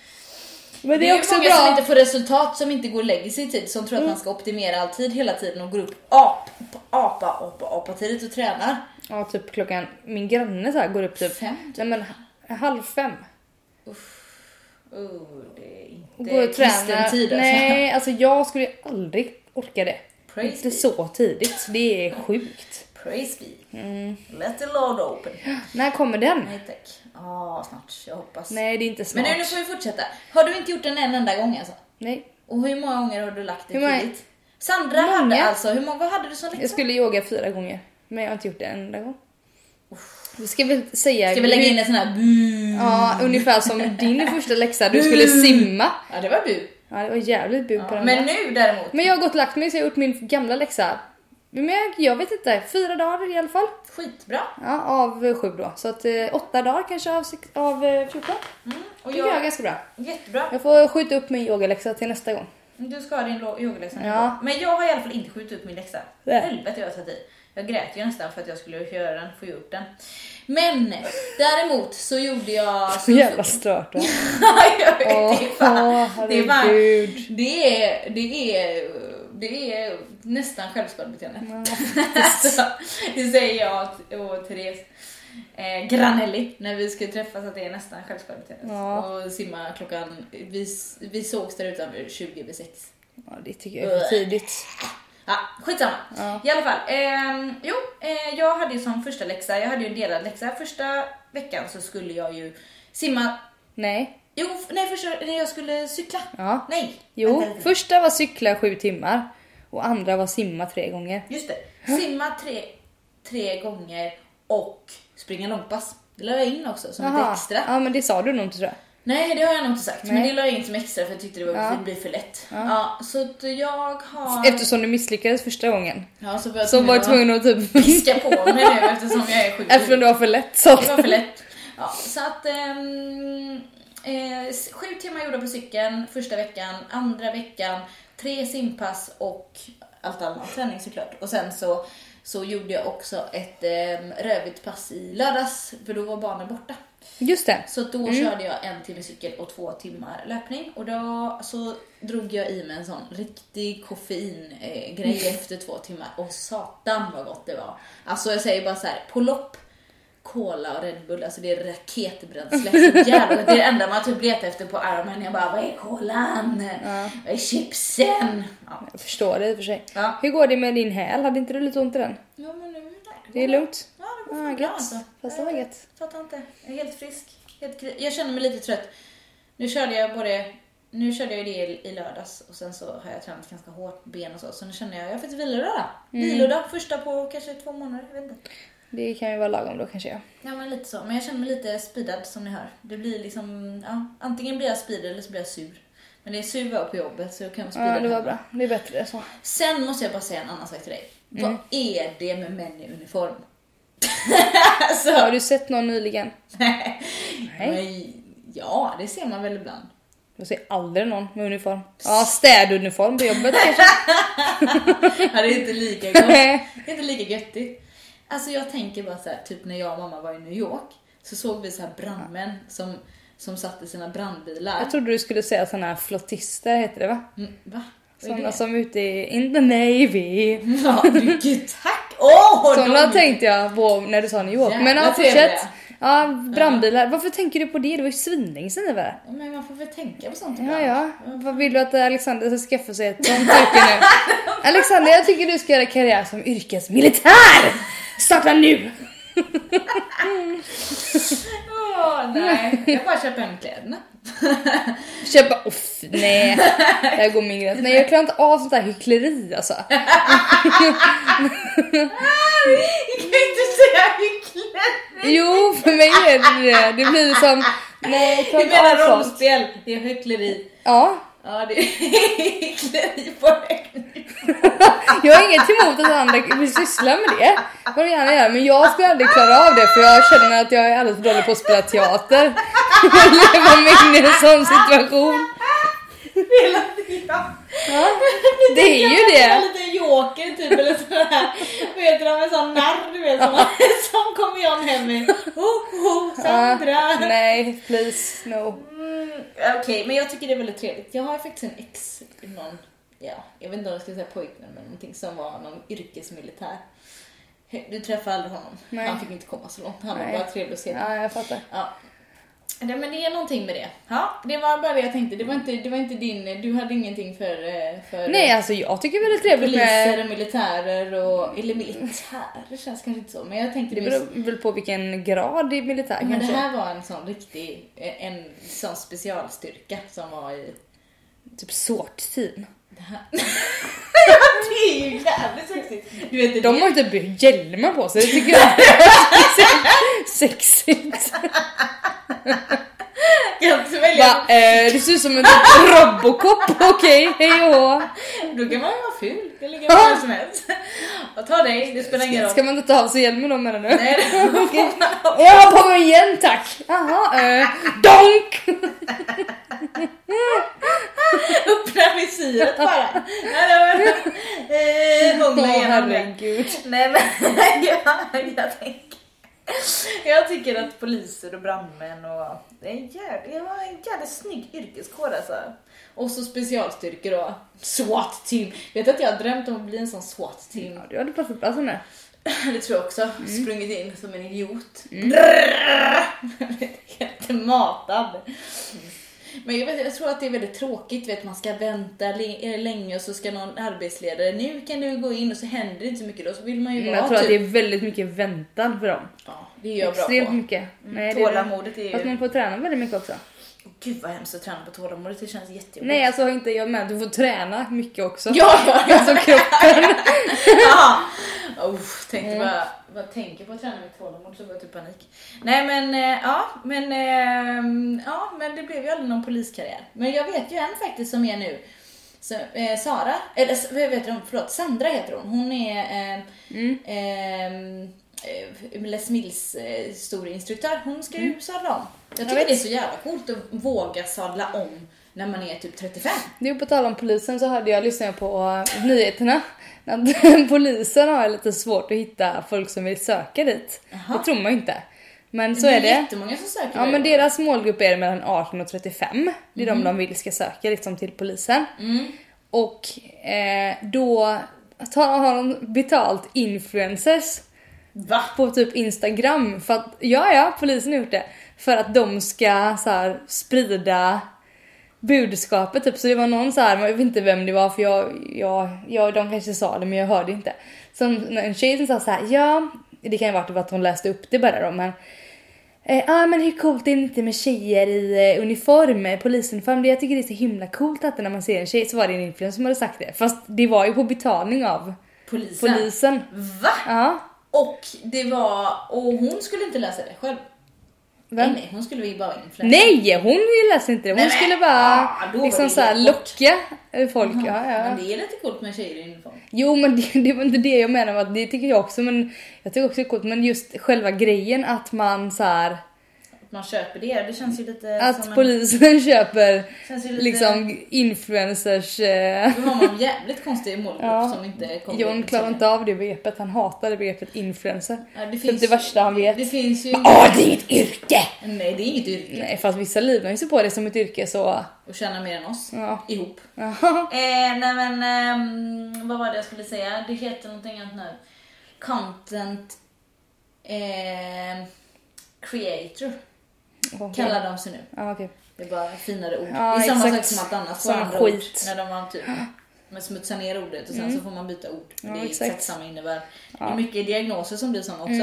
Men
Det är också många som inte får resultat som inte går och lägger sig i tid som tror
Mm.
att man ska optimera all tid hela tiden och går upp ap, apa, apa, apa tidigt och tränar.
Ja typ klockan, min granne så här går upp typ,
Fem?
nej men ha- halv fem.
Oh, det är inte
Och går och tränar.
kristen tid alltså.
nej alltså jag skulle ju aldrig orka det.
Praise
inte
be.
så tidigt, det är sjukt.
Praise be.
Mm.
Let the Lord open.
När kommer den?
Nej tack. Ja, snart. Jag hoppas.
Nej det är inte
Men
snart.
nu, nu får vi fortsätta. Har du inte gjort den en enda gång alltså?
Nej.
Och hur många gånger har du lagt det
Hur många-
tidigt? Sandra hade
Många.
alltså, hur många hade du som läxa?
Jag skulle yoga fyra gånger, men jag har inte gjort det en enda gång. Vi ska väl säga...
Ska vi lägga in en sån här bu?
Ja, ungefär som din första läxa, du skulle simma.
Ja, det var bu.
Ja, det var jävligt bud på
Mm. Ja.
den
Men
men...
nu däremot.
men jag har gått och lagt mig så jag har gjort min gamla läxa. Men jag, jag vet inte, fyra dagar i alla fall.
Skitbra.
Ja, av eh, sju då. Så att eh, åtta dagar kanske av, sex, av eh, 14.
Mm. Och
Tycker jag är
jag,
ganska bra.
jättebra.
Jag får skjuta upp min yogaläxa till nästa gång.
Du ska ha din lo- yogaläxa.
Ja.
Men jag har i alla fall inte skjutit upp min läxa.
Nej.
Helvete jag har tagit i. Jag grät ju nästan för att jag skulle göra den, få gjort den. Men däremot så gjorde jag...
Så jävla stört. va?
jag vet, Alltså, det är
Åh,
fan... Det är, fan
herregud.
det, är, det, är, det är nästan självskadebeteende. alltså, det säger jag och Therese eh, Granelli när vi skulle träffas att det är nästan självskadebeteende.
Ja.
Och simma klockan, vi, vi sågs där utanför 20 över 6.
Ja, det tycker jag är för tidigt.
Ja, skitsamma.
Ja.
I alla fall. ehm, jo, eh, jag hade ju som första läxa, jag hade ju en delad läxa. Första veckan så skulle jag ju simma,
Nej.
jo, f- nej första, nej, jag skulle cykla.
Ja.
Nej.
Jo,
vänta lite.
första var cykla sju timmar och andra var simma tre gånger.
Just det. Simma tre, tre gånger och springa långpass. Det la jag in också som lite
Jaha.
extra.
Ja men det sa du nog inte tror jag.
Nej, det har jag nog inte sagt. Men
Nej.
det la jag in som extra för jag tyckte det var
Ja.
det blir för lätt. Ja. så att jag har...
Eftersom du misslyckades första gången.
Ja, så var jag
Så var
tvungen
jag
att
tvungen att typ...
piska på mig nu eftersom jag är sjuk.
Eftersom det var för lätt så.
Det var för lätt. Ja, så att... ehm, eh, sju timmar gjorda på cykeln första veckan, andra veckan, tre simpass och allt annat träning såklart. Och sen så, ehm, så gjorde jag också ett um, rövigt pass i lördags, för då var barnen borta.
Just det.
Så att då körde jag en timme cykel och två timmar löpning och då så drog jag i mig en sån riktig koffeingrej eh, grej efter två timmar och satan vad gott det var. Alltså jag säger bara så här, på lopp, cola och Red Bull, alltså det är raketbränsle. Så jävla gott. Det är det enda man typ letar efter på armen. Jag bara, vad är kolan? Vad är chipsen? Ja,
Jag förstår det i och för sig.
Ja.
Hur går det med din häl? Hade inte du lite ont i den?
ja men nu
Det är lugnt?
Ja, det går bra alltså.
Fast det var gött.
Fattar inte. Jag är helt frisk. Helt kri- jag känner mig lite trött. Nu körde jag både... Nu körde jag det i, i lördags och sen så har jag tränat ganska hårt ben och så. Så nu känner jag, jag har fått vilodag då.
Mm.
Vilodag, första på kanske två månader. Jag vet inte.
Det kan ju vara lagom då kanske jag.
Ja men lite så. Men jag känner mig lite speedad som ni hör. Det blir liksom, ja. Antingen blir jag speedad eller så blir jag sur. Men det är sur var på jobbet så jag kan vara speedad
Ja, det var
hemma.
bra. Det är bättre så.
Sen måste jag bara säga en annan sak till dig.
Mm.
Vad är det med män i uniform? alltså,
Har du sett någon nyligen?
Men, ja, det ser man väl ibland.
Jag ser aldrig någon med uniform. Ja, städuniform på jobbet kanske.
Ja, det är inte lika gott. Det är inte lika göttigt. Alltså jag tänker bara så här, typ när jag och mamma var i New York så såg vi så här brandmän som, som satt i sina brandbilar.
Jag trodde du skulle säga sådana här flottister heter det va?
Mm, va? Vad är
Sådana
det?
som är ute i in the navy.
Ja, du, gud tack! Åh!
Sådana
de-
tänkte jag på när du sa New York. Men ja,
Jävla
fortsätt.
trevliga.
Ja, brandbilar. Varför tänker du på det? Det var ju svinlänge sedan det var.
Ja, Men man får väl tänka på sånt
Ja,
ibland.
ja. Vad vill du att Alexander ska skaffa sig ett sånt yrke nu? Alexander, jag tycker du ska göra karriär som yrkesmilitär! Starta nu!
Åh, nej. Jag bara köper hem kläderna.
Köpa... Oh, fy, nej, där går min gräns. Nej, jag klarar inte av sånt där hyckleri alltså.
Jag kan inte säga hyckleri!
Jo, för mig är det det. Det blir som... Nej, jag
Du
klarar inte
menar
av sånt.
rollspel? Det är hyckleri.
Ja,
Ja, det är hyckleri på hög
jag har inget emot att andra vill syssla med det. Vad du gärna gör. Men jag skulle aldrig klara av det för jag känner att jag är alldeles för dålig på att spela teater. Jag lever mig in i en sån situation.
hela tiden.
Ja, det är ju det.
Lite joker typ eller sådär. här. Vad heter de? En sån narr du vet som, som kommer John hem med. Ho, ho, Sandra.
Ah, nej, please no.
Mm, Okej, men jag tycker det är väldigt trevligt. Jag har faktiskt en ex, någon, ja, jag vet inte om jag ska säga pojkvän men någonting som var någon yrkesmilitär. Du träffade aldrig honom.
Nej.
Han fick inte komma så långt. Han
Nej.
var bara trevlig att se.
Ja, jag fattar.
Ja. Nej, men det är någonting med det. Ja, det var bara det jag tänkte. Det var inte, det var inte din, du hade ingenting för... eh, för
Nej, alltså jag tycker väl det är trevligt
Poliser
med...
och militärer och... Eller militär, det känns kanske inte så. Men jag tänkte
Det
det
beror väl på vilken grad i militär
Men det
kanske.
här var en sån riktig... eh, En sån specialstyrka som var i...
Typ sortteam.
Det är ju jävligt sexigt! Du vet, det,
De har ju typ hjälmar på sig, det tycker jag är sexigt.
kan svälja.
Va, eh, det ser ut som en typ Robocop, okej, hej och hå.
Då kan man ju vara ful, det ligger man var som helst. Och ta dig, det spelar ingen roll.
Ska man inte ta av sig hjälmen då menar du?
Nej, det-
Jag har på mig igen tack! Jaha, eh, donk!
Öppna visiret bara. Nej, det var- Eh,
Åh
Hångla igenom det.
herregud.
Nej men jag, jag tänker Jag tycker att poliser och brandmän och det är en jävligt, det var en jävligt snygg yrkeskår alltså. Och så specialstyrkor då. SWAT team. Vet du att jag har drömt om att bli en sån SWAT team?
Ja, du hade passat bra som det.
Det tror jag också. Sprungit in som en idiot. Drrrr. Helt matad. Men jag, vet, jag tror att det är väldigt tråkigt, vet, man ska vänta le- länge och så ska någon arbetsledare, nu kan du gå in och så händer det inte så mycket då så vill man ju
Men
vara
jag tror att
typ-
det är väldigt mycket väntan för dem.
Ja, det är jag bra
Extremt
på. Mm,
mycket. Nej, det är
Tålamodet
Fast
är ju...
man får träna väldigt mycket också.
Gud vad hemskt att träna på tålamodet, det känns jättejobbigt.
Nej alltså inte jag med, du får träna mycket också.
Ja, ja, ja.
Alltså kroppen.
ja. Uff, tänkte bara, bara tänker på att träna med tålamod så får jag typ panik. Nej men eh, ja, men ehm, ja, men det blev ju aldrig någon poliskarriär. Men jag vet ju en faktiskt som är nu. Så, eh, Sara, eller s- vad heter hon? Förlåt, Sandra heter hon. Hon är eh,
Mm.
ehm, eh, Les Mills eh, stor instruktör. Hon ska
Mm.
ju sadla om. Jag tycker det är så jävla coolt att våga sadla om när man är typ 35.
Nu på tal om polisen så hörde jag, lyssnade jag på eh, nyheterna. Att polisen har lite svårt att hitta folk som vill söka dit.
Jaha.
Det tror man ju inte. Men så är
Det är
det.
jättemånga som söker
Ja
det.
men deras målgrupp är mellan 18 och 35. Det är de de vill ska söka liksom till polisen.
Mm.
Och eh, då tar, har de betalt influencers
Va?
på typ Instagram för att, ja ja, polisen har gjort det. För att de ska så här, sprida budskapet typ. Så det var någon så här, jag vet inte vem det var för jag, jag, jag de kanske sa det men jag hörde inte. Som en tjej som sa så här, ja, det kan ju vara typ att hon läste upp det bara då men Eh, ah, men hur coolt är det inte med tjejer i eh, uniform, eh, polisuniform? Det, jag tycker det är så himla coolt att när man ser en tjej så var det en influencer som hade sagt det. Fast det var ju på betalning av
Polisen.
polisen.
Va?
Ja,
Och det var... Och hon skulle inte läsa det själv.
vem?
Nej, nej, hon skulle ju bara vara influencer.
Nej, hon läste inte det. Hon
Nej, men-
skulle bara
Ah, då var
liksom
det
så här,
helt bort.
locka eh, folk. Ja, ja.
Men det är lite coolt med tjejer i uniform.
Jo, men det, det var inte det jag menar. med att Det tycker jag också. Men jag tycker också det är coolt. Men just själva grejen att man så här,
Att man köper det, det känns ju lite
att
som en...
polisen köper
Känns ju lite...
liksom influencers. Eh,
Då har man en jävligt konstig målgrupp
Ja.
som inte kommer
John klarar inte av det begreppet. Han hatar det begreppet influencer.
Ja, det
det,
finns-
det värsta han vet.
Det finns ju...
Åh, det är inget yrke!
Nej, det är inget yrke
Nej, fast vissa livnär sig på det som ett yrke så...
att tjäna mer än oss.
Ja.
Ihop. Eh, nej men, ehm, vad var det jag skulle säga? Det heter någonting annat nu. Content ehm, creator
Okej.
kallar de sig nu.
Ja, okej.
Det är bara finare ord.
Ja,
det är samma
exakt.
sak som allt annat.
Samma
andra
skit. Mm.
Ord, när de har typ man smutsar ner ordet och sen så får man byta ord.
Ja,
det är exakt,
exakt. Mm.
samma innebär. Det är mycket diagnoser som blir såna också.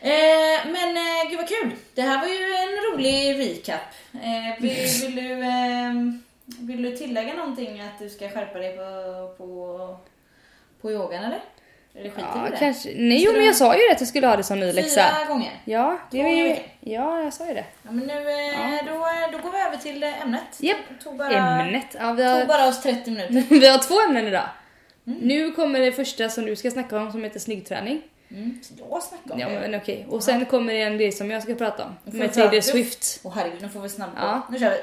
Eh, men eh, gud vad kul! Det här var ju en rolig recap. Eh, vill, vill, du, ehm, vill du tillägga någonting att du ska skärpa dig på, på, på yogan eller? Eller skiter du i
Ja,
det?
kanske. Nej, jo, men jag sa ju det att jag skulle ha det som ny läxa.
Fyra gånger.
Ja, det är
Två
ju...
gånger.
Ja, jag sa ju det.
Ja, men nu, eh,
Ja.
Då, eh, då går vi över till eh, ämnet.
Japp.
Tog bara,
Ämnet. Ja, vi,
Tog
har,
bara oss 30 minuter.
vi har två ämnen idag. Nu kommer det första som du ska snacka om som heter snyggträning.
Mm. Så jag snackar om
Ja,
det.
men okej. Och sen kommer det en grej som jag ska prata om.
får
Med
prata.
Taylor Swift.
Åh herregud, nu får vi snabbt
Ja.
Nu kör vi.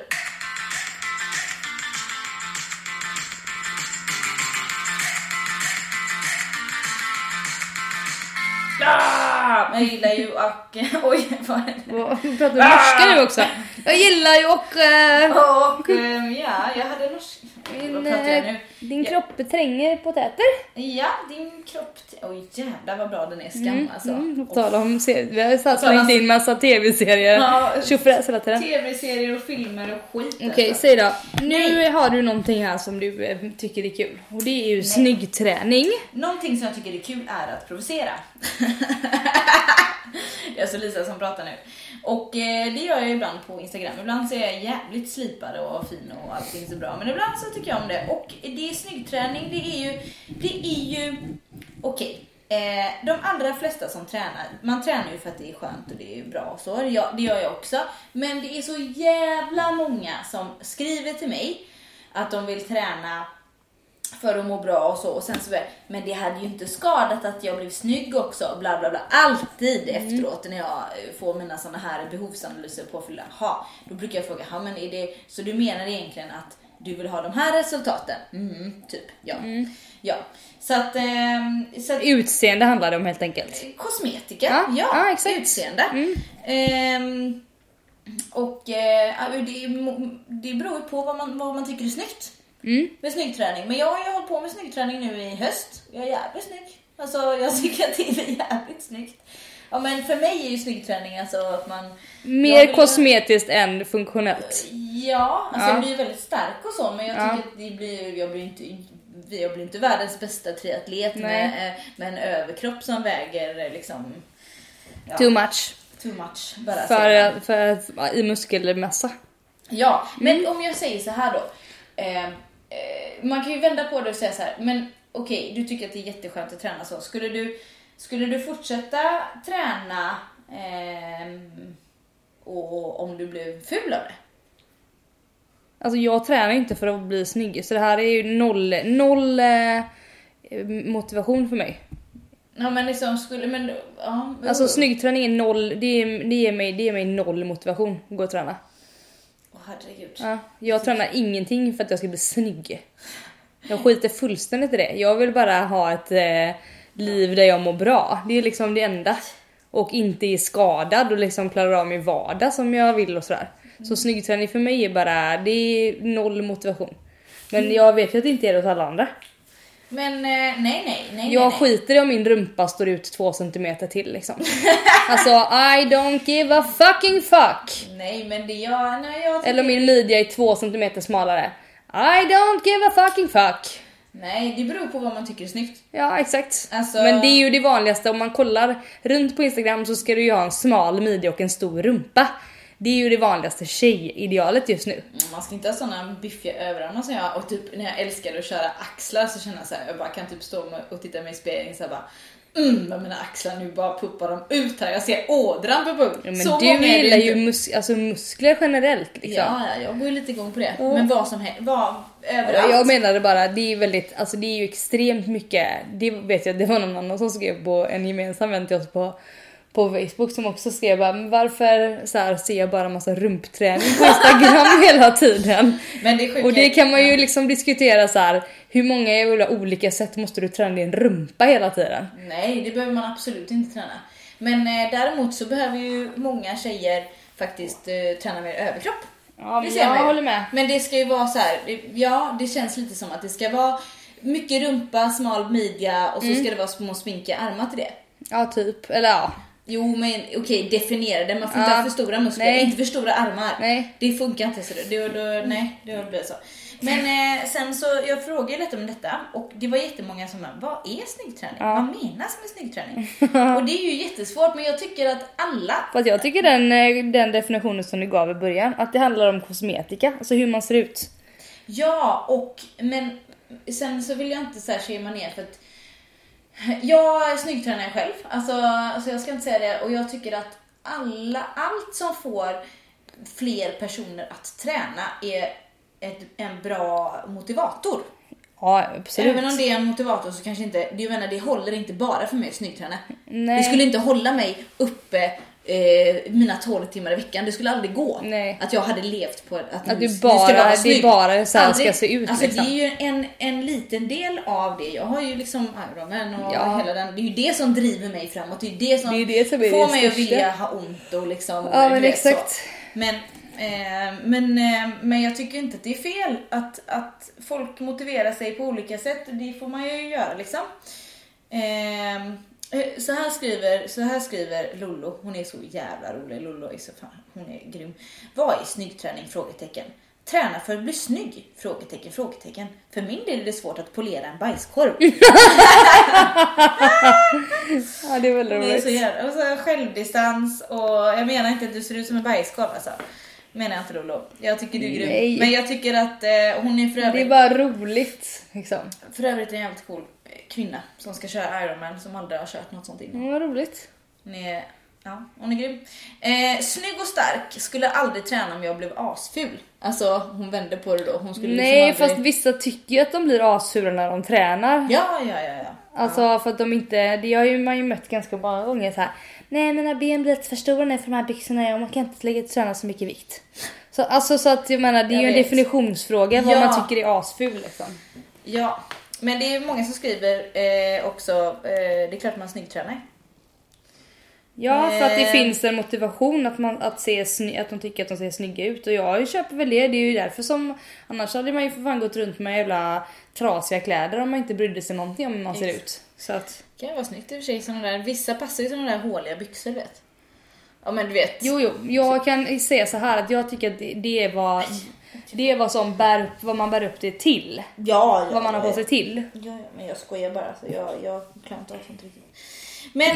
Ah! Jag gillar ju och... Oj, vad är det?
Och vi pratar norska nu också. Jag gillar ju och... eh,
Och ehm, ja, jag hade norsk... Vad
Min,
pratar jag
eh,
nu?
din
Ja.
kropp tränger potäter.
Ja, din kropp... t- Oj jävlar vad bra den är, skam alltså.
Mm, på
Och
tal om serier. Vi har ju satt
På tal om-
slängt in massa tv-serier.
Ja.
Tjofräs hela tiden.
Tv-serier och filmer och skit
Okej,
alltså.
säg då. Nu har du någonting här som du eh, tycker är kul. Och det är ju snygg träning.
Någonting som jag tycker är kul är att provocera. det är alltså Lisa som pratar nu. Och eh, det gör jag ibland på Instagram. Ibland så är jag jävligt slipad och fin och allting så bra. Men ibland så tycker jag om det. Och det är snyggträning, det är ju... Det är ju... Okej. Eh, de allra flesta som tränar, man tränar ju för att det är skönt och det är bra och så. Ja, det gör jag också. Men det är så jävla många som skriver till mig att de vill träna för att må bra och så. Och sen så bara, men det hade ju inte skadat att jag blev snygg också. Bla bla bla. Alltid efteråt när jag eh, får mina såna här behovsanalyser påfyllda. Ha, då brukar jag fråga, ha, men är det, så du menar egentligen att du vill ha de här resultaten? Mm, typ. Ja. ja. Så att, ehm, så att
Utseende handlar det om helt enkelt.
kosmetika, ja,
Ja, ja, exakt. Mm.
utseende. Ehm, och eh, ja, det, det beror ju på vad man, vad man tycker är snyggt
Mm.
med snyggträning. Men jag har ju hållit på med snyggträning nu i höst. Jag är jävligt snygg. Alltså jag tycker att det är jävligt snyggt. Ja men för mig är ju snyggträning alltså att man...
Mer
jag vill-
kosmetiskt än funktionellt.
Ja, alltså
Ja.
jag blir ju väldigt stark och så men jag
Ja.
tycker att det blir, jag blir ju inte jag blir inte världens bästa triatlet med, eh, med en överkropp som väger eh, liksom... Ja,
Too much.
too much. Bara säger man.
För, för, att- ja, I muskelmassa.
Ja, men
Mm.
om jag säger så här då. Eh, eh, man kan ju vända på det och säga så här. Men okej, du tycker att det är jätteskönt att träna så. Skulle du, skulle du fortsätta träna ehm, och, om du blev ful av det?
Alltså jag tränar ju inte för att bli snygg så det här är ju noll, noll eh, motivation för mig.
Ja men liksom skulle, men ja.
Alltså
jo.
snyggträning är noll, det, är, det, ger mig, det ger mig noll motivation att gå och träna.
Åh herregud.
Ja, jag tränar ingenting för att jag ska bli snygg. Jag skiter fullständigt i det. Jag vill bara ha ett eh, liv där jag mår bra. Det är liksom det enda. och inte är skadad och liksom klarar av min vardag som jag vill och sådär.
Mm.
Så snyggträning för mig är bara, det är noll motivation. Men jag vet ju att det inte är det hos alla andra.
Men eh, nej, nej, nej.
Jag
nej, nej.
skiter i om min rumpa står ut två centimeter till liksom. alltså I don't give a fucking fuck!
Nej, men det jag... Nej, jag tycker-
Alltså, Eller om min midja är två centimeter smalare. I don't give a fucking fuck!
Nej, det beror på vad man tycker är snyggt.
Ja exakt.
Alltså-
Men det är ju det vanligaste om man kollar runt på instagram så ska du ju ha en smal midja och en stor rumpa. Det är ju det vanligaste tjejidealet just nu.
Mm, Man ska inte ha såna biffiga överarmar som jag och typ när jag älskade att köra axlar så känner jag såhär, jag bara kan typ stå med- och titta mig i spegeln såhär bara Mm, vad mina axlar nu bara puppar de ut här, jag ser ådran på punkt.
Ja, Men
så
du
många är det
gillar
inte.
ju mus- alltså muskler generellt liksom.
Ja, ja, jag går ju lite igång på det. Men vad som helst, vad,
Ja,
överallt.
Jag menade bara, det är väldigt, alltså det är ju extremt mycket, det vet jag, det var någon annan som skrev på en gemensam vän till oss på, på Facebook som också skrev bara, "Men varför så här, ser jag bara massa rumpträning på Instagram hela tiden?
Men det är sjukt.
Och det kan man ju liksom diskutera så här. hur många jävla olika sätt måste du träna din rumpa hela tiden?
Nej, det behöver man absolut inte träna. Men eh, däremot så behöver ju många tjejer faktiskt eh, träna mer överkropp.
Ja,
Det
men
ser man
jag
ju.
håller med.
Men det ska ju vara så här, det- ja det känns lite som att det ska vara mycket rumpa, smal midja och så
Mm.
ska det vara små sminkiga armar till det.
Ja, typ. Eller ja.
Jo men okej, definiera det. Man får inte
Ja.
ha för stora muskler,
Nej.
inte för stora armar.
Nej.
Det funkar inte. Så det, det, då, nej, det blir så. Men eh, sen så, jag frågade ju lite om detta och det var jättemånga som bara, vad är snyggträning?
Ja.
Vad menas med snyggträning? och det är ju jättesvårt men jag tycker att alla
Fast jag tycker den, eh, den definitionen som du gav i början, att det handlar om kosmetika, alltså hur man ser ut.
Ja, och men sen så vill jag inte så här shama ner för att jag snyggtränar själv, alltså, alltså jag ska inte säga det och jag tycker att alla, allt som får fler personer att träna är ett, en bra motivator.
Ja, absolut.
Även om det är en motivator så kanske inte, det, jag menar, det håller inte bara för mig att snyggträna.
Nej.
Det skulle inte hålla mig uppe eh, mina 12 timmar i veckan, det skulle aldrig gå.
Nej.
Att jag hade levt på att,
Att du
du
bara- det är
snygg.
bara så här
Aldrig.
ska se ut,
Alltså
liksom.
det är ju en, en liten del av det. Jag har ju liksom armen och
Ja.
hela den, det är ju det som driver mig framåt. Det är ju det som,
Det är det som är
får
det
mig att
största.
vilja ha ont och liksom
Ja,
du
men
vet,
exakt.
Så. Men, eh, men, eh, men jag tycker inte att det är fel att, att folk motiverar sig på olika sätt. Det får man ju göra liksom. Eh, eh, så här skriver, så här skriver Lollo, hon är så jävla rolig. Lollo är så fan, hon är grym. Vad är snyggträning? Frågetecken. Träna för att bli snygg? Frågetecken, frågetecken. För min del är det svårt att polera en bajskorv.
Ja, det är väldigt
Det är så
roligt.
jävla, och så självdistans och jag menar inte att du ser ut som en bajskorv alltså. Menar jag inte Lollo. Jag tycker du är grym.
Nej.
Men jag tycker att eh, hon är för
Det är
övrigt,
bara roligt liksom.
för övrigt en jävligt cool eh, kvinna som ska köra Ironman som aldrig har kört något sånt innan.
Ja, vad roligt.
Hon är, ja, hon är grym. Eh, snygg och stark, skulle aldrig träna om jag blev asful. Alltså hon vände på det då. Hon skulle
Nej,
liksom
fast
aldrig...
vissa tycker ju att de blir assura när de tränar.
Ja, ja, ja, ja.
Alltså för att de inte, det har ju man ju mött ganska många gånger så här. Nej mina ben blir lite för stora nu för de här byxorna och man kan inte lägga träna så mycket vikt. Så, alltså så att jag menar det är
Jag
ju en
vet.
definitionsfråga vad
Ja.
man tycker är asful liksom.
Ja, men det är många som skriver eh, också, eh, det är klart man snyggtränar.
Ja för att det
Eh.
finns en motivation att, man, att, se sny, att de tycker att de ser snygga ut och jag köper väl det. Det är ju därför som annars hade man ju för fan gått runt med jävla trasiga kläder om man inte brydde sig någonting om hur man ser
Ex-
ut. Så att,
Det kan ju vara snyggt i och för sig, såna där, vissa passar ju såna där håliga byxor du vet. Ja men du vet.
Jo, jo, jag kan säga så här att jag tycker att det, det är vad det är vad som bär upp, vad man bär upp det till.
ja,
Vad man har på sig till.
Ja, ja, men jag skojar bara så jag, jag klarar inte av sånt riktigt. Men, eh,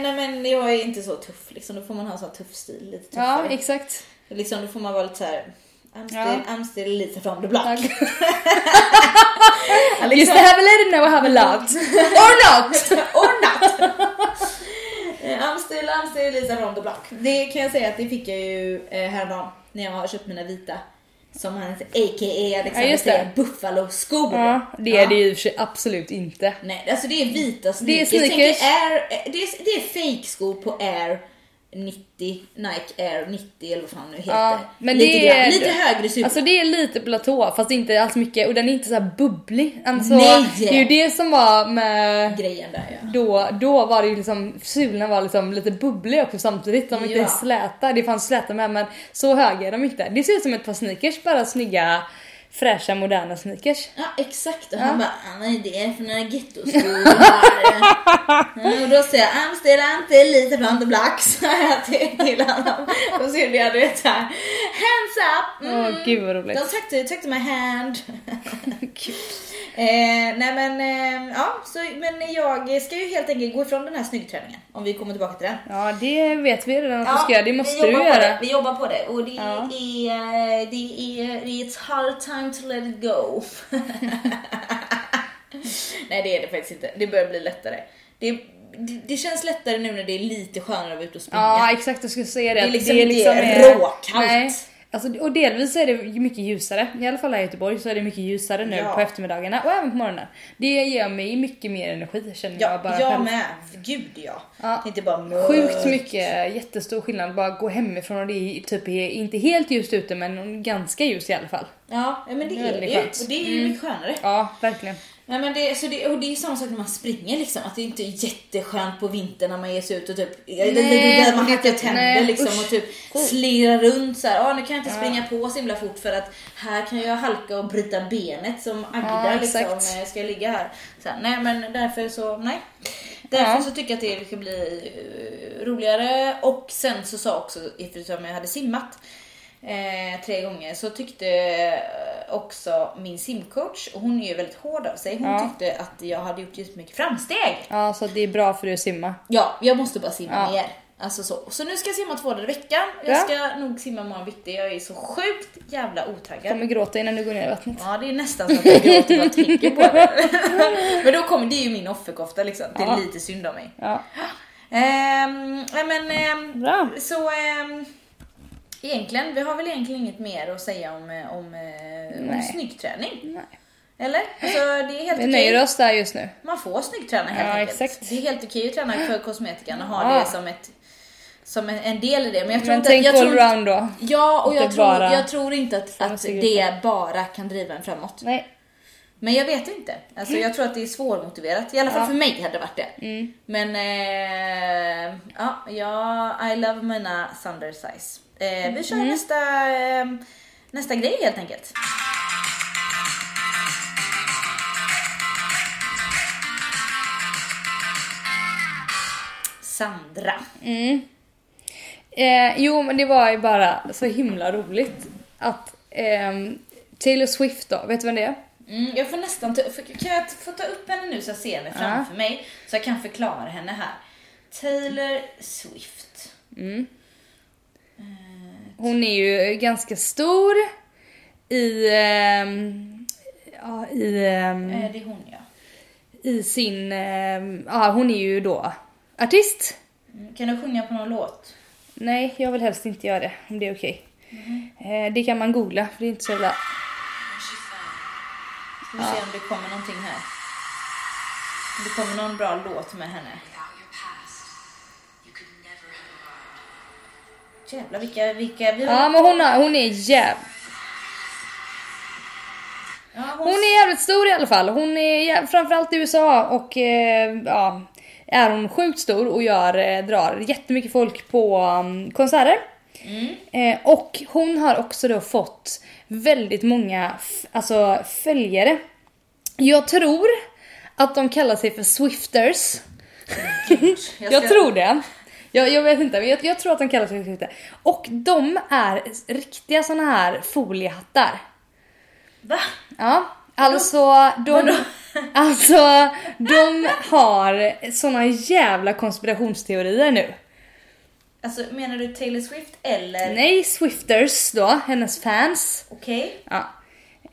nej, men jag är inte så tuff liksom, då får man ha en sån tuff stil, lite
Ja,
tuffare.
exakt.
liksom, då får man vara lite såhär, I'm still,
Ja.
I'm still Lisa from the block.
Just the have a lady now I have a loved. Or not!
Or not! Eh, I'm still, I'm still Lisa from the block. Det kan jag säga att det fick jag ju eh, häromdagen när jag har köpt mina vita. Som han heter, a.k.a. Alexander
Ja, just
liksom,
det.
säger, Buffalo-skor.
Ja, det är det ju i och för sig absolut inte.
Nej, alltså det är vita
Det är
sneakers. Det är,
sneakers.
Air, eh, det är, det är fake skor på Air 90, Nike Air 90 eller vad fan nu heter.
Ja, men
lite,
det är-
grann, lite högre super.
Alltså det är lite platå fast inte alls mycket och den är inte så här bubblig. Alltså,
Nej!
Det är ju det som var med
grejen där ja.
då, då var det ju liksom, sulan var liksom lite bubblig också samtidigt. De var inte
Ja.
släta, det fanns släta med men så höga är de inte. Det ser ut som ett par sneakers, bara snygga fräscha moderna sneakers.
Ja exakt och han bara ah, vad är det för några gettoskor? ja, och då säger jag "Ah, Amsterdam till lite bland the blacks säger jag till, till honom. Då ser jag du vet såhär hands up! Mm.
Åh gud vad roligt.
De tryckte, tryckte mig hand. eh, nej men eh, ja, så, men jag ska ju helt enkelt gå ifrån den här snyggträningen om vi kommer tillbaka till den.
Ja det vet vi redan att du
Ja,
ska göra, det
vi
måste du
jobbar på
göra.
Det. Vi jobbar på det och det,
Ja.
är, eh, det är... det är It's hard time to let it go. Nej det är det faktiskt inte. Det börjar bli lättare. Det, det, det känns lättare nu när det är lite skönare att vara ute och springa.
Ja exakt, jag skulle säga det.
Det är
att
liksom- det är råkallt.
Nej. Alltså, och delvis är det ju mycket ljusare, i alla fall här i Göteborg så är det mycket ljusare nu
Ja.
på eftermiddagarna och även på morgonen. Det ger mig mycket mer energi känner
ja,
jag bara
jag
själv.
med. Gud ja.
Ja.
Inte bara
Sjukt mycket, jättestor skillnad bara gå hemifrån och det är typ är inte helt ljust ute men ganska ljust i alla fall.
Ja, men det är Mm. det
Väldigt
ju.
skönt.
Och det är ju mycket skönare.
Ja, verkligen.
Nej, men det, så det, och det är ju samma sak när man springer liksom. Att det inte är jätteskönt på vintern när man ger sig ut och typ,
Nej,
nej, man
det är
hackar
typ-
tänder
nej,
liksom
usch.
och typ slirar runt så här. "Ah, nu kan jag inte springa på så himla fort för att här kan jag halka och bryta benet som Agda
Ja,
liksom,
exakt.
eh, ska jag ligga här. Så här. Nej men därför så, nej. Därför
Ja.
så tycker jag att det ska bli eh, roligare och sen så sa också, eftersom jag hade simmat eh, tre gånger, så tyckte eh, också min simcoach, och hon är ju väldigt hård av sig, hon
Ja.
tyckte att jag hade gjort jättemycket framsteg.
Ja, så det är bra för dig att simma.
Ja, jag måste bara simma
Ja.
mer. Alltså så. så nu ska jag simma två dagar i veckan, jag
Ja.
ska nog simma imorgon bitti, jag är så sjukt jävla otaggad.
Kommer gråta innan du går ner i vattnet.
Ja, det är nästan så att jag gråter bara jag tänker på det. Men då kommer det är ju min offerkofta liksom. Det är
Ja.
lite synd om mig.
Ja,
Ehm, nej, men ehm,
bra.
så ehm, egentligen, vi har väl egentligen inget mer att säga om, eh, om, eh, om
Nej.
snyggträning.
Nej.
Eller? Alltså, det är helt
Vi
okej.
nöjer oss där just nu.
Man får snyggträna helt
Ja,
enkelt.
exakt.
Det är helt okej att träna för kosmetikan och ha
Ja.
det som, ett, som en- en del i det. Men jag tror inte
Men
att,
tänk
jag tror, inte-
allround då.
Ja, och jag
Inte
tror,
bara-
jag tror inte att, att
sig
det bara kan driva en framåt.
Nej.
Men jag vet inte. Alltså, jag tror att det är svårmotiverat. I alla fall
Ja.
för mig hade det varit det. Men eh, ja, ja, I love mina Thunder size. Eh, vi kör nästa, eh, nästa grej helt enkelt. Sandra.
Eh, jo, men det var ju bara så himla roligt att ehm, Taylor Swift då, vet du vem det är?
Mm, jag får nästan ta, för, kan jag få ta upp henne nu så jag ser henne framför mig? Så jag kan förklara henne här. Taylor Swift.
Mm. Hon är ju ganska stor i, ehm, ja, i, ehm,
Eh, det är hon ja.
i sin, ehm, ja hon är ju då artist.
Mm, Kan du sjunga på någon låt?
Nej, jag vill helst inte göra det om det är okej. Eh, det kan man googla för det är inte så jävla...
Ska vi se om det kommer någonting här. Om det kommer någon bra låt med henne.
Without your past, you could never have arrived.
Jävlar vilka, vilka, vi har...
Ja men hon, har, hon är jäv...
Ja,
Hon är jävligt stor i alla fall. Hon är jä- framförallt i USA och eh, ja, är hon sjukt stor och gör, eh, drar jättemycket folk på um, konserter. Eh, och hon har också då fått väldigt många f- alltså, följare. Jag tror att de kallar sig för Swifters.
jag
Jag,
ska-
tror det. Jag, jag vet inte, men jag, jag tror att de kallas för Swifter. Och de är riktiga såna här foliehattar.
Va?
Ja, alltså de, alltså de har såna jävla konspirationsteorier nu.
Alltså menar du Taylor Swift eller?
Nej, Swifters då, hennes fans.
Okej.
Ja.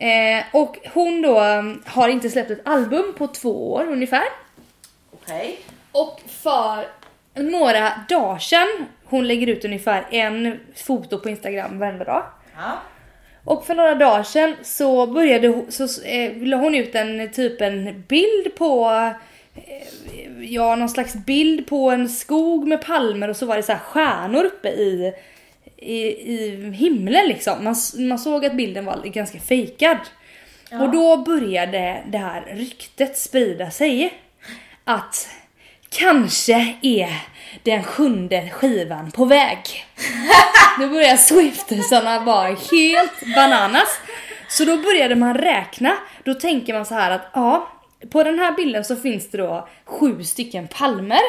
Eh, och hon då mm, har inte släppt ett album på två år ungefär.
Okej.
Och för några dagar sedan, hon lägger ut ungefär en foto på Instagram varenda dag.
Ja.
Och för några dagar sedan så började hon, så, eh, la hon ut en typ en bild på eh, ja, någon slags bild på en skog med palmer och så var det så här stjärnor uppe i, i, i himlen liksom. Man, s- man såg att bilden var ganska fejkad. Och då började det här ryktet sprida sig. Att kanske är den sjunde skivan på väg. Då började swiftersarna vara helt bananas. Så då började man räkna. Då tänker man så här att ja, på den här bilden så finns det då sju stycken palmer.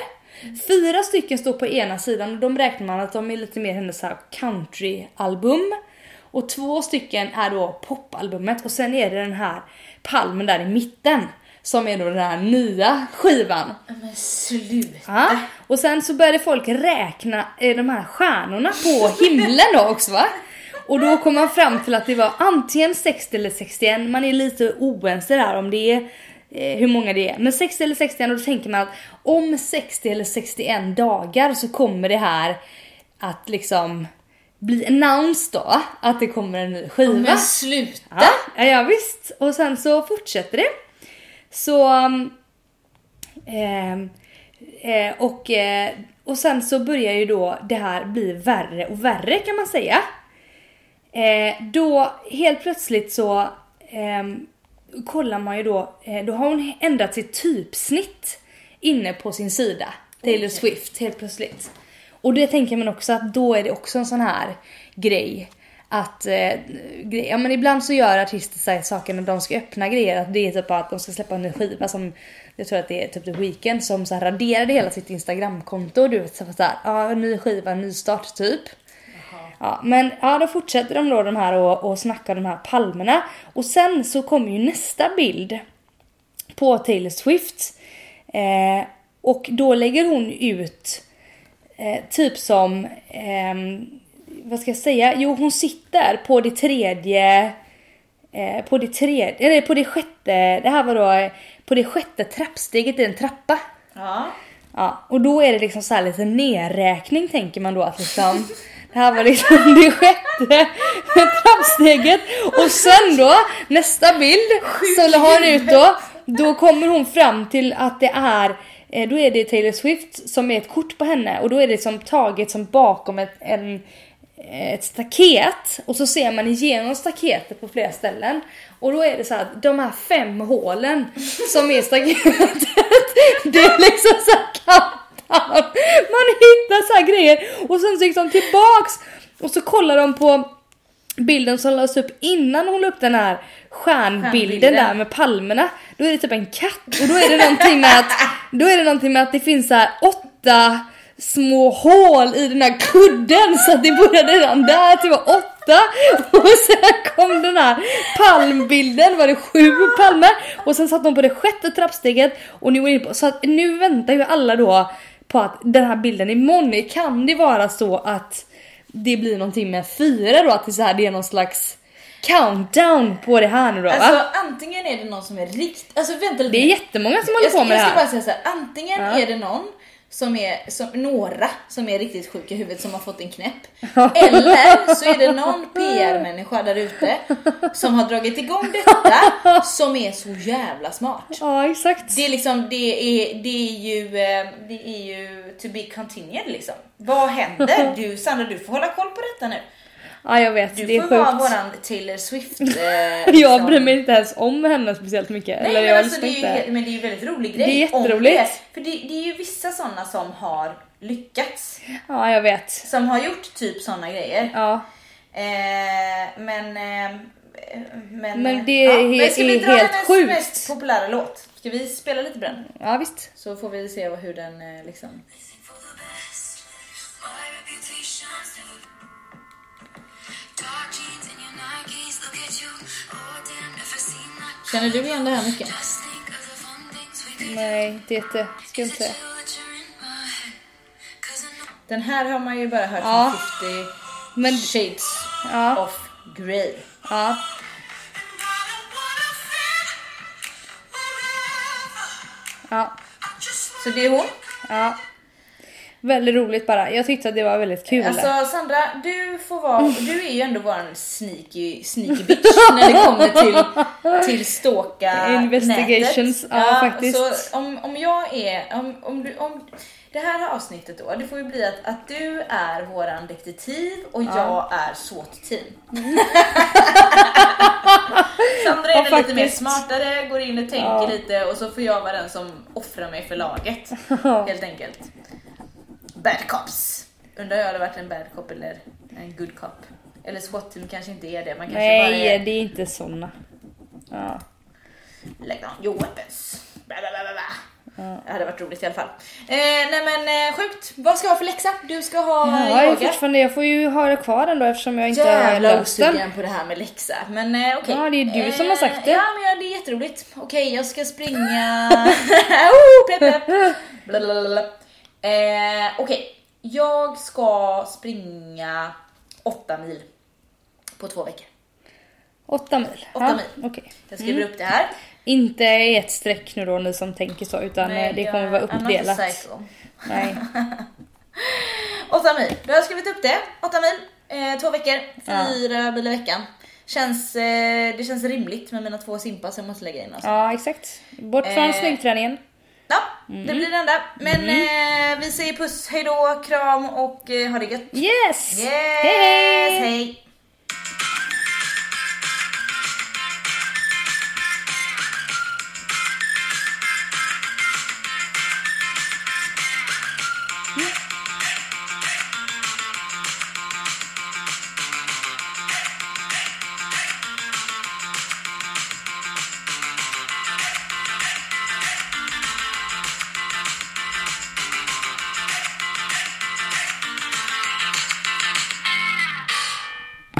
Fyra stycken står på ena sidan och de räknar man att de är lite mer hennes så här countryalbum. Och två stycken är då popalbumet och sen är det den här palmen där i mitten som är då den här nya skivan.
Men sluta.
Ja. Och sen så började folk räkna eh, de här stjärnorna på himlen då också va? Och då kom man fram till att det var antingen 60 eller 61, man är lite oense där om det är eh, hur många det är. Men 60 eller 61 och då tänker man att om 60 eller 61 dagar så kommer det här att liksom bli announced då, att det kommer en ny skiva.
Men sluta.
Ja, ja, ja visst. Och sen så fortsätter det. Så... um, ehm, eh, och, eh, och sen så börjar ju då det här bli värre och värre kan man säga. Eh, då helt plötsligt så ehm, kollar man ju då, eh, då har hon ändrat sitt typsnitt inne på sin sida. Taylor Swift helt plötsligt. Och det tänker man också att då är det också en sån här grej. Att, eh, grej, ja men ibland så gör artister så här saker när de ska öppna grejer att det är typ att de ska släppa en ny skiva som, jag tror att det är typ The Weeknd som så här raderade hela sitt instagramkonto och du vet så här, så här, ja ny skiva, ny start typ. Ja, men ja, då fortsätter de då de här och, och snackar de här palmerna. Och sen så kommer ju nästa bild på Taylor Swift. Eh, och då lägger hon ut eh, typ som, ehm, vad ska jag säga, jo hon sitter på det tredje, eh, på det tredje, eller på det sjätte, det här var då, eh, på det sjätte trappsteget i en trappa.
Ja.
Ja, och då är det liksom så här lite nerräkning tänker man då att liksom det här var liksom det sjätte trappsteget och sen då nästa bild så har hon ut då då kommer hon fram till att det är eh, då är det Taylor Swift som är ett kort på henne och då är det som taget som bakom ett, en, eh, ett staket och så ser man igenom staketet på flera ställen. Och då är det så här att de här fem hålen som är staketet, det är liksom så här kappan. Man hittar så här grejer och sen så gick de tillbaks och så kollar de på bilden som lades upp innan hon la upp den här stjärnbilden
Stjärnbilden.
där med palmerna. Då är det typ en katt och då är det någonting med att, då är det, någonting med att det finns så här åtta små hål i den här kudden så att det började redan där till var åtta och sen kom den här palmbilden, var det sju palmer och sen satt de på det sjätte trappsteget och nu, är det på, så att nu väntar ju alla då på att den här bilden imorgon, kan det vara så att det blir någonting med fyra då, att det, är så här, det är någon slags countdown på det här nu då va?
Alltså antingen är det någon som är rikt... Alltså vänta lite.
det är jättemånga som håller
jag,
på
ska,
med det
jag ska bara
här.
säga så här. antingen
Ja.
är det någon som är, som, några som är riktigt sjuka i huvudet som har fått en knäpp. Eller så är det någon PR-människa där ute som har dragit igång detta som är så jävla smart.
Ja exakt.
Det är liksom, det är, det är ju, eh, det är ju to be continued liksom. Vad händer? Du Sandra, du får hålla koll på detta nu.
Ja jag vet,
Du
det är
får vara
sjukt.
våran Taylor Swift. Eh,
Jag
liksom.
bryr mig inte ens om henne speciellt mycket.
Nej,
eller
men,
jag
alltså, det
lyssnar
är ju,
inte.
he- men det är ju en väldigt rolig grej.
Det är
om
jätteroligt.
det. För det, det är ju vissa sådana som har lyckats.
Ja jag vet.
Som har gjort typ sådana grejer.
Ja.
Eh, men... Eh, men,
Men det är-
ska vi
är
dra
helt
hennes
sjukt.
mest populära låt? Ska vi spela lite på den?
ja visst.
Så får vi se vad- hur den eh, liksom...
Listen for the best. My reputation's never. Dark jeans and your Nikes. Look at you. Oh damn, never seen that.
Känner du igen det här mycket?
Just think of the fun things we could
Nej, det är inte. Ska jag
do.
inte säga.
Tell that you're in my head. 'Cause I know
Den här har man ju bara hört
Ja.
från 50
Men
shades
ja,
of grey.
ja.
I don't wanna fit wherever.
Ja.
I just
Så det är hon.
Ja. Väldigt roligt bara. Jag tyckte att det var väldigt kul. Mm.
Alltså Sandra, du får vara, du är ju ändå våran sneaky, sneaky bitch när det kommer till, till stalka
Investigations,
nätet.
ja, faktiskt.
Så om, om jag är, om, om du, om det här här avsnittet då, det får ju bli att, att du är våran detektiv och jag är SWAT-team. Sandra är
Ja,
väl lite mer
faktiskt.
smartare, går in och tänker
Ja.
lite och så får jag vara den som offrar mig för laget. Helt enkelt. Bad cops. Undrar om jag hade varit en bad cop eller en good cop. Eller SWAT-team kanske inte är det. Man kanske bara
Nej,
är
det är inte såna. Ja.
like on your weapons. Bla, bla, bla, bla, bla. Det hade varit roligt i alla fall. Eh, nej men eh, sjukt. Vad ska jag ha för läxa? Du ska ha
Ja,
eh,
jag, är
yoga.
fortfarande, jag får ju ha det kvar ändå eftersom jag inte har
Jävla
löst den.
osugen på det här med läxa. Men eh, okej. Eh,
Ja, det är ju du som har sagt det.
Ja, men ja, det är jätteroligt. Okej, jag ska springa... oh, pepp, pepp. Blablabla. Eh, okej, jag ska springa åtta mil på två veckor.
Åtta mil.
Åtta mil.
okej.
Jag skriver
Mm.
upp det här.
Inte i ett streck nu då ni som tänker så utan eh, det kommer vara
jag- I'm not a
uppdelat.
psycho.
Nej.
Åtta mil, då har jag skrivit upp det. Åtta mil, eh, två veckor, fyra mil i veckan. Känns, eh, det känns rimligt med mina två simpar som jag måste lägga in. Alltså.
Ja exakt. Bort från
Eh.
smygträningen.
Ja,
Mm.
det blir det enda. Men eh, vi säger puss, hejdå, kram och eh, ha det gött.
Yes!
Yes!
Hej, hej!
hej.